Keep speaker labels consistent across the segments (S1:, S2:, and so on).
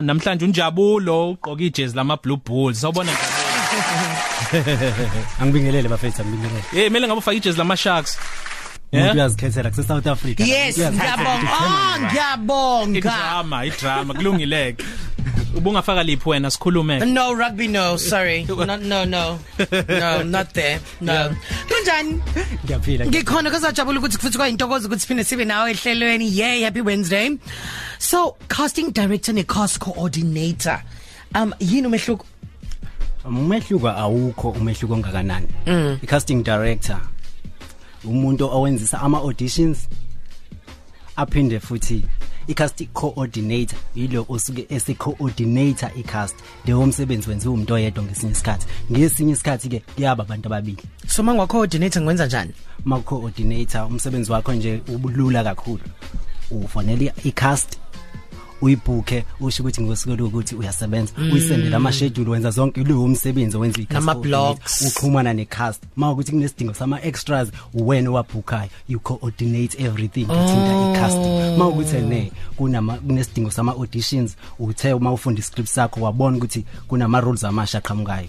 S1: namhlanje unjabulo ugqoka ijezi lama blue bulls sawubona njabulo
S2: Angibingelele bafethu angibingelele.
S1: hey mele ngabe ufaka ijezi lama sharks
S2: Umuntu
S1: yeah
S2: uyazikhethela kuse South Africa.
S3: Yes, ngiyabonga. Ah, ngiyabonga.
S1: idrama idrama kulungileke ubungafaka liphi wena sikhulume
S3: No rugby no, sorry. No no no. No, not there. No. Kunjani?
S2: Ngiyaphila.
S3: Ngikhona kusajabula ukuthi kufuthi kwayintokozo ukuthi siphinde sibe nawe ehlelweni. Yay, happy Wednesday. So, casting director ne cast coordinator. Um yini umehluko?
S2: Umehluko awukho umehluko ongakanani.
S3: Mm.
S2: I casting director umuntu owenzisa ama auditions aphinde futhi i cast coordinator yilo osuke ese coordinator i cast leyo msebenzi wenziwa umuntu oyedwa ngesinye isikhathi ngesinye isikhathi ke kuyaba abantu ababili
S3: So mangwa coordinator ngwenza njani?
S2: ma coordinator umsebenzi wakho nje ubulula kakhulu ufonela i cast uyibhuke usho ukuthi ngosuku ukuthi uyasebenza uyisendele ama schedule wenza zonke lo umsebenzi owenza i cast
S3: Nama blocks.
S2: uxhumana ne cast ma ukuthi kunesidingo sama extras uwena owabhukayo you coordinate everything ethinta i cast ma ukuthi ne kunama kunesidingo sama auditions uthe uma ufunda i script sakho wabona ukuthi kunama rules amasha aqhamukayo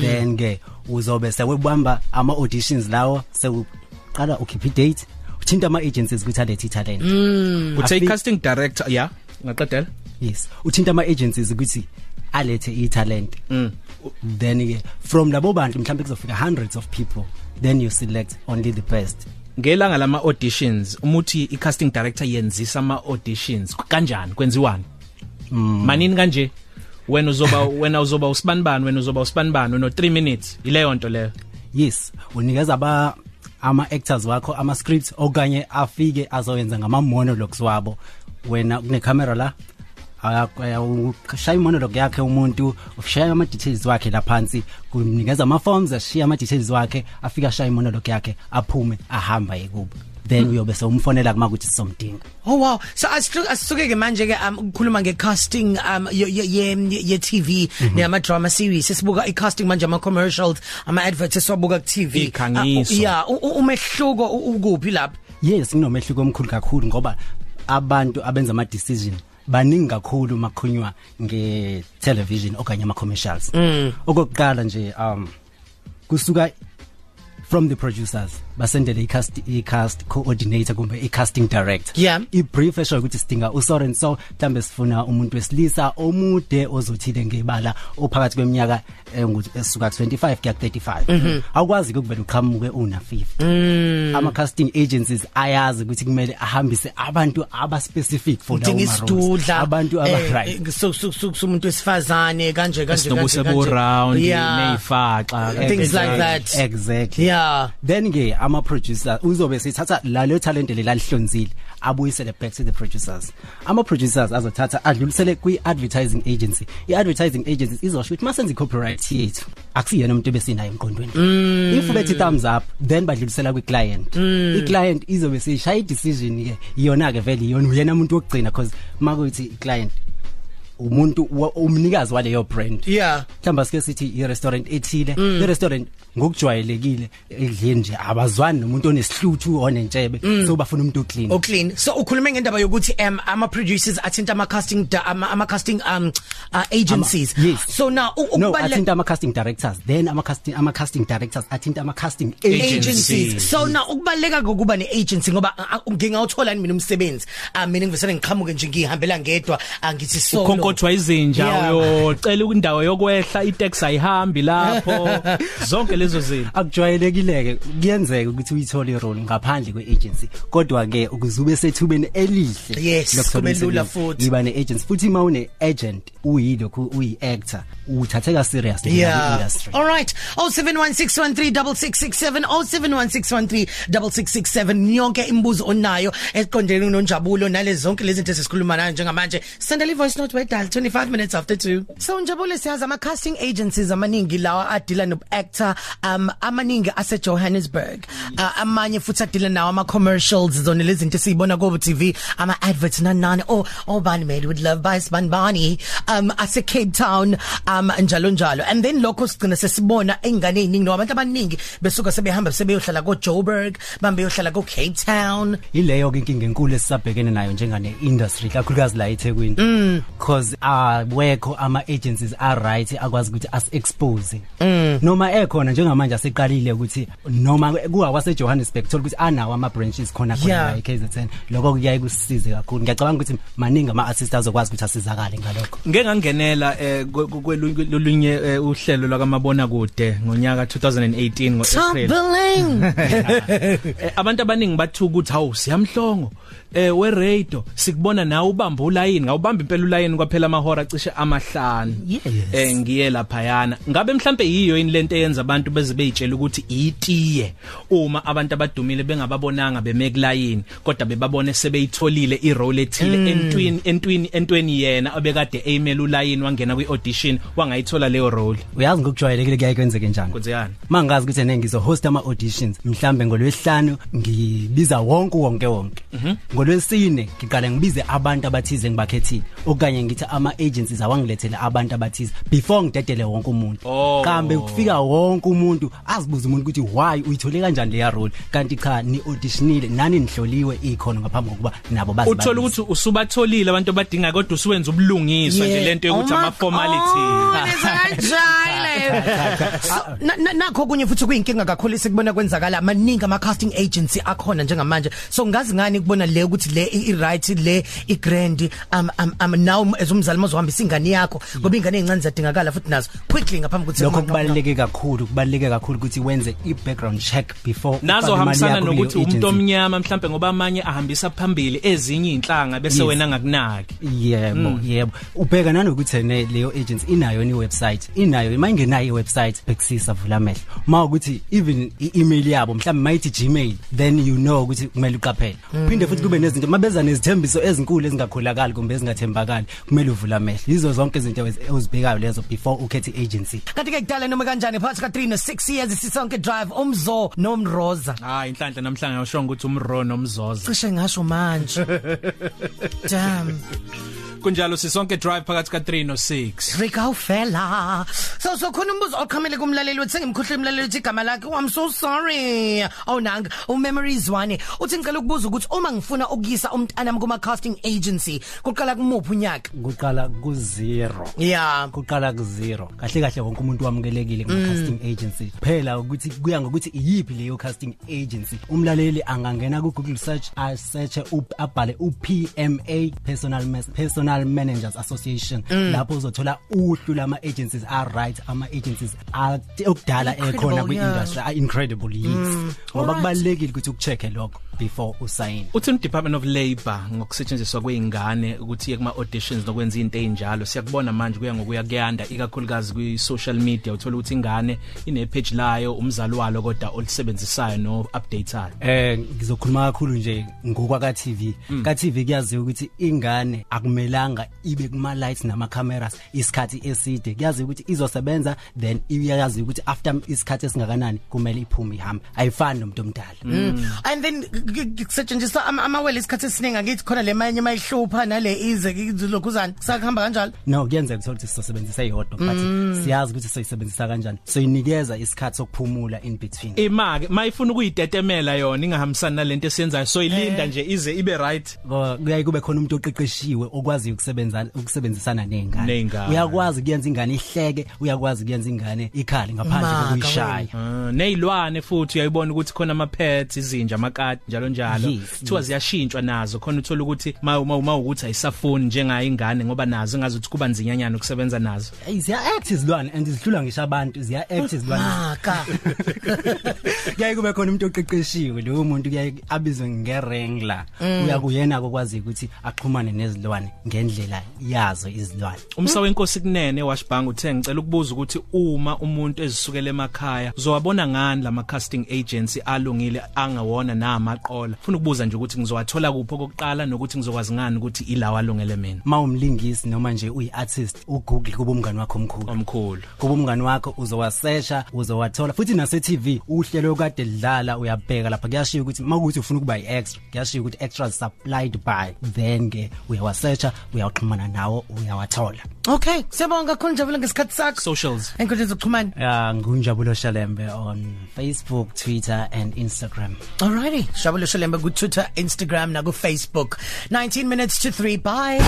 S2: then ke uzobe sewebamba ama auditions lawo sewuqala ukhipha i date uthinta ama agencies ukuthi alethe i talent
S1: uthe
S2: Afi-
S1: casting director yeah ngaqedela
S2: yes uthinta ama agencies ukuthi alethe i talent then ke from labo bantu mhlawumbe kuzofika hundreds of people then you select only the best
S1: ngelanga lama auditions umuthi i casting director yenzisa ama auditions kanjani kwenziwani
S3: Mm.
S1: manini kanje wena uzoba wena uzoba usibanibani wena uzoba usibanibani wena 3 minutes ile nto leyo
S2: yes unikeza aba ama actors wakho ama scripts okanye afike azoyenza ngama monologues wabo wena kune camera la ayashaya monologue yakhe umuntu ushaya ama details wakhe laphansi kunikeza ama forms ashiya ama details wakhe afika shaya monologue yakhe aphume ahamba yekubo then uyobe sewumfonela kuma ukuthi somdinga
S3: Oh wow. So asihlu- asisuke ke manje ke um ukukhuluma ngecasting um ye ye ye ye TV
S2: Mhm.
S3: nema drama series sibuka icasting manje ama commercials ama adverts siwabuka ku TV.
S1: Ikhangiso.
S3: Ah, u- Yeah, u- u- umehluko u- ukuphi lapha?
S2: yes kunomehluko omkhulu kakhulu ngoba abantu abenza ama decision baningi kakhulu makhulunywa nge television okanye ama commercials okokuqala nje um kusuka from the producers basendele i cast i cast coordinator kumbe i casting director
S3: Yeah.
S2: i brief esho ukuthi sidinga u Soren so mhlambe sifuna umuntu wesilisa omude ozothile ngebala ophakathi kweminyaka engu- esuka 25 kuya 35 awukwazi ukuvela uqhamuke una 50
S3: Mm.
S2: ama casting agencies ayazi ukuthi kumele ahambise abantu aba specific for lawo
S3: Udinga
S2: ma roles
S3: isidudla.
S2: abantu aba
S3: eh,
S2: right
S3: eh, So so so so umuntu wesifazane kanje kanje kanje.
S1: sinobuse bo
S3: kanje.
S1: round
S3: Yeah.
S1: neyifaxa
S3: eh, Things like that.
S2: exactly
S3: Yeah.
S2: then ke ama producer uzobe sithatha lalo talent lelihlonzile abuyisele back to the producers ama producers azothatha adlulisele kwi advertising agency i advertising agency izosho ukuthi masenze copyright yethu akusiyena umuntu bese naye emqondweni if let it thumbs up then badlulisela kwi client i client izobe sishaya decision ke iyona ke vele iyona uyena umuntu wokugcina because makuthi i client umuntu wa- umnikazi waleyo brand
S3: Yeah.
S2: mhlamba sike sithi i-restaurant ethile
S3: Mm.
S2: i-restaurant ngokujwayelekile edleni nje abazwani nomuntu onesihluthu
S3: Mm.
S2: onentshebe so bafuna umuntu clean
S3: O Oh, clean. So ukhulume ngendaba yokuthi um ama producers athinta ama casting da- ama ama casting um uh, agencies.
S2: yes.
S3: So now u-
S2: no
S3: ukubaluleka-
S2: athinta ama casting directors then ama casting ama casting directors athinta ama casting
S3: agencies
S2: agencies
S3: so na ukubaleka kokuba neagency ngoba ah, ah, ngingawuthola yini mina umsebenzi ah mina ngivesele ngiqhamuke nje ngihambela ngedwa angithi so
S1: konkothwa izinja
S3: Yeah.
S1: uyocela indawo yokwehla itex ayihambi lapho zonke lezo zinto
S2: akujwayelekileke kuyenzeka ukuthi uyithole i-role ngaphandle kwe-agency kodwa ke ukuze ube sethubeni elihle
S3: Yes,
S2: lokuthola
S3: kube lula
S2: umsebenzi,
S3: futhi.
S2: yiba ne-agency futhi uma une-agent uyilokhu uyi-actor uthatheka serious
S3: Yeah.
S2: industry
S3: All right. Oh, 0716136667 0716136667 yonke imbuzo onayo eqondene noNjabulo nalezi zonke lezi zinto esikhuluma nayo njengamanje. Sendele voice note wedal 25 minutes after 2. So Njabulo siyazi ama casting agencies amaningi lawa adila no actor um amaningi ase Johannesburg. Uh, amanye futhi adila nawo ama commercials zona lezi zinto esizibona ku TV ama adverts nanani oh oh bani made with love by Sbanbani um ase Cape Town um njalo njalo and then lokho sigcina sesibona ingane eziningi noma abantu abaningi besuka sebehamba sebeyohlala ko Joburg bambe yohlala ko Cape Town
S2: ileyo ke inkinga enkulu esisabhekene nayo njengane industry kakhulukazi la eThekwini because because awekho ama agencies are right akwazi ukuthi as expose noma ekhona njengamanje aseqalile ukuthi noma kuwase Johannesburg thola ukuthi anawo ama branches khona
S3: Yeah.
S2: khona la eKZN lokho kuyaye kusize kakhulu ngiyacabanga ukuthi maningi ama artists azokwazi ukuthi asizakale ngalokho
S1: ngeke ngangenela eh, kwe- kwe- kwelunye lolunye, eh, uhlelo lwakamabona kude ngonyaka 2018 ngoApril Eh, abantu abaningi bathuka ukuthi hawu siyamhlongo eh we radio sikubona nawe ubamba uline ngawubamba impela uline kwaphela amahora acishe amahlanu
S2: Yes.
S1: eh ngiye lapha yana ngabe mhlambe yiyo ini lento eyenza abantu beze beyitshela ukuthi itiye uma abantu abadumile bengababonanga beme kuline kodwa bebabone sebeyitholile i role ethile entwini entwini entweni yena obekade email uline wangena kwi audition wangayithola leyo role
S2: uyazi ngokujwayelekile kuyaye kwenzeke njani
S1: kwenzekani
S2: mangazi ukuthi ene ngizohost ama auditions mhlambe ngolwesihlanu ngibiza wonke wonke wonke
S1: Mhm.
S2: ngolwesine ngiqale ngibize abantu abathize engibakhethile okanye ngithi ama agencies awangilethele abantu abathize before ngidedele wonke umuntu
S1: Oh.
S2: kambe kufika wonke umuntu azibuza umuntu ukuthi why uyithole kanjani leya role kanti cha ni auditionile nani nihloliwe ikhono ngaphambi kokuba nabo bazi
S1: uthola ukuthi usubatholile abantu abadinga kodwa usuwenza ubulungiswa nje lento yokuthi ama
S3: Oh,
S1: formalities
S3: Ah, nakho kunye futhi kuyinkinga kakhulu esikubona kwenzakala amaningi ama-casting agency akhona njengamanje so ngazi ngani kubona le ukuthi le i- i-right le i-grand um, um, um, naw as umzali mazohambisa ingane yakho ngoba iy'ngane ey'ncane ziyadingakala futhi nazo quickly ngaphambi kokuthi
S2: lokho
S3: kunqanqamuke.
S2: kubaluleke kakhulu kubaluleke kakhulu ukuthi wenze i-background check before
S1: nazo
S2: ufake imali
S1: hambisana
S2: yakho kuleyo
S1: nokuthi umuntu
S2: agency.
S1: omnyama mhlambe ngoba amanye ahambisa phambili ezinye inhlanga bese
S2: Yes.
S1: wena ngakunaki
S2: yebo mm. yebo ubheka nanokuthi ene leyo agency inayo ni website inayo mayingenayo iwebsite bekusisa vula amehlo mawukuthi even i-email yabo mhlawumbe mayithi gmail then you know ukuthi kumele uqaphele uphinde futhi kube nezinto mabeza nezithembiso ezinkulu ezingakholakali kumbe ezingathembakali kumele uvula amehlo yizo zonke izinto ezi- ozibhekayo lezo before ukhethe i-agency
S3: kanti ke kudala noma kanjani phakathi ka-3 no-6 years sisonke drive umzo nomroza
S1: hayi inhlanhla namhlanje yashonga ukuthi umro nomzoza
S3: cishe ngasho manje dam
S1: kunjalo sisonke drive phakathi ka3 no6
S3: Rick Aufella. So so oh, khona umbuzo oqhamele kumlaleli wethu ngimkhohle umlaleli uthi igama lakhe oh, I'm so sorry. Oh nang, u memories wane. Uthi ngicela ukubuza ukuthi uma ngifuna ukuyisa umntana wami kuma casting agency, kuqala kumuphi unyaka?
S2: kuqala ku-zero
S3: Yeah.
S2: kuqala ku-zero kahle kahle wonke umuntu wamukelekile kuma-casting mm. agency phela ukuthi kuya ngokuthi iyiphi leyo casting agency umlaleli angangena ku-google search asearche up- abhale u-pma personal, Mas- personal managers association mm. lapho uzothola uhlu lama-agencies a-right ama-agencies a- okudala
S3: Incredible,
S2: ekhona kwi-industry
S3: yeah.
S2: a-incredible yes ngoba
S3: Alright.
S2: kubalulekile ukuthi uku-check-e lokho before usayine
S1: uthi in department of labor ngokusetshenziswa kweingane ukuthi ye kuma auditions nokwenza into ezinjalo siyakubona manje kuya ngokuya kuyanda ikakhulukazi kwi social media uthola ukuthi ingane ine page layo umzali walo kodwa olisebenzisayo no updateayo
S2: Eh ngizokhuluma kakhulu nje ngokwa ka TV. Ka TV kuyaziwa ukuthi ingane akumelanga ibe kuma lights nama cameras isikhathi eside. Kuyaziwa ukuthi izosebenza then iyayazi ukuthi after isikhathi esingakanani kumele iphume ihambe. Ayifani nomuntu
S3: Mm.
S2: omdala.
S3: And then kusetshenziswa amawele isikhathi esiningi ngathi khona lemanye emayihlupha nale ize lokuzani kusahamba kanjalo.
S2: No kuyenzeka ukuthi uthi sisebenzisa iyodwa but siyazi ukuthi soyisebenzisa kanjani. So inikeza isikhathi sokuphumula in between.
S1: imake mayifuna ukuyitetemela yona ingahambisani nalento esiyenzayo so ilinda nje ize ibe right
S2: Ngoba kuyaye kube khona umuntu oqeqeshiwe okwazi ukusebenza ukusebenzisana neingane
S1: Ney'ngane.
S2: uyakwazi kuyenza ingane ihleke uyakwazi kuyenza ingane ikhali
S3: Maka
S2: ngaphandle kokuyishaya
S1: Uh, nezilwane futhi uyayibona ukuthi khona ama pets izinja amakati njalo njalo
S2: Yes,
S1: kuthiwa ziyashintshwa nazo khona uthola ukuthi ma uma uma ukuthi ayisafuni njengayo ingane ngoba nazo engazi ukuthi kuba nzinyanyana ukusebenza nazo
S2: Hey, ziya-act izilwane and zihlula ngisho abantu ziya-act
S3: Ah.
S2: izilwane
S3: Maka.
S2: kuyaye kube khona umuntu oqeqeshiwe loyo muntu kuyaye abizwe nge-rangler uyakuyena-ko kwaziyo ukuthi axhumane nezilwane ngendlela yazo izilwane
S1: umsawe inkosi kunene washbang uthe ngicela ukubuza ukuthi uma umuntu ezisukela emakhaya uzowabona ngani lama casting agency alungile angawona namaqola ufuna ukubuza nje ukuthi ngizowathola kuphi okokuqala nokuthi ngizokwazi ngani ukuthi ilawa alungele mina
S2: ma umlingisi noma nje uyi-artist ugoogle kube umngane wakho omkhulu
S1: omkhulu
S2: kuba umngani wakho uzowasesha uzowathola futhi nase-tv uhlelo kade lidlala uyabheka lapha kuyashiya ukuthi uma kuwukuthi ufuna ukuba yi-extra kuyashiya ukuthi extras supplied by then-ke uyawasesha uyawuxhumana nawo uyawathola
S3: Okay, siyabonga kakhulu Njabulo ngesikhathi sakho.
S1: Socials.
S3: Enkundleni zokuxhumana.
S2: ya Ah, ngunjabulo shalembe on facebook twitter and instagram
S3: Alrighty, Shabule Shalembe ku Twitter, Instagram na ku Facebook. 19 minutes to 3 bye.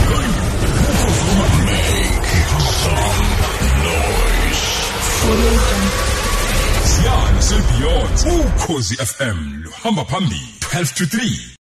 S4: Siyan Silbiyot ukhosi FM luhamba phambili 12 to 3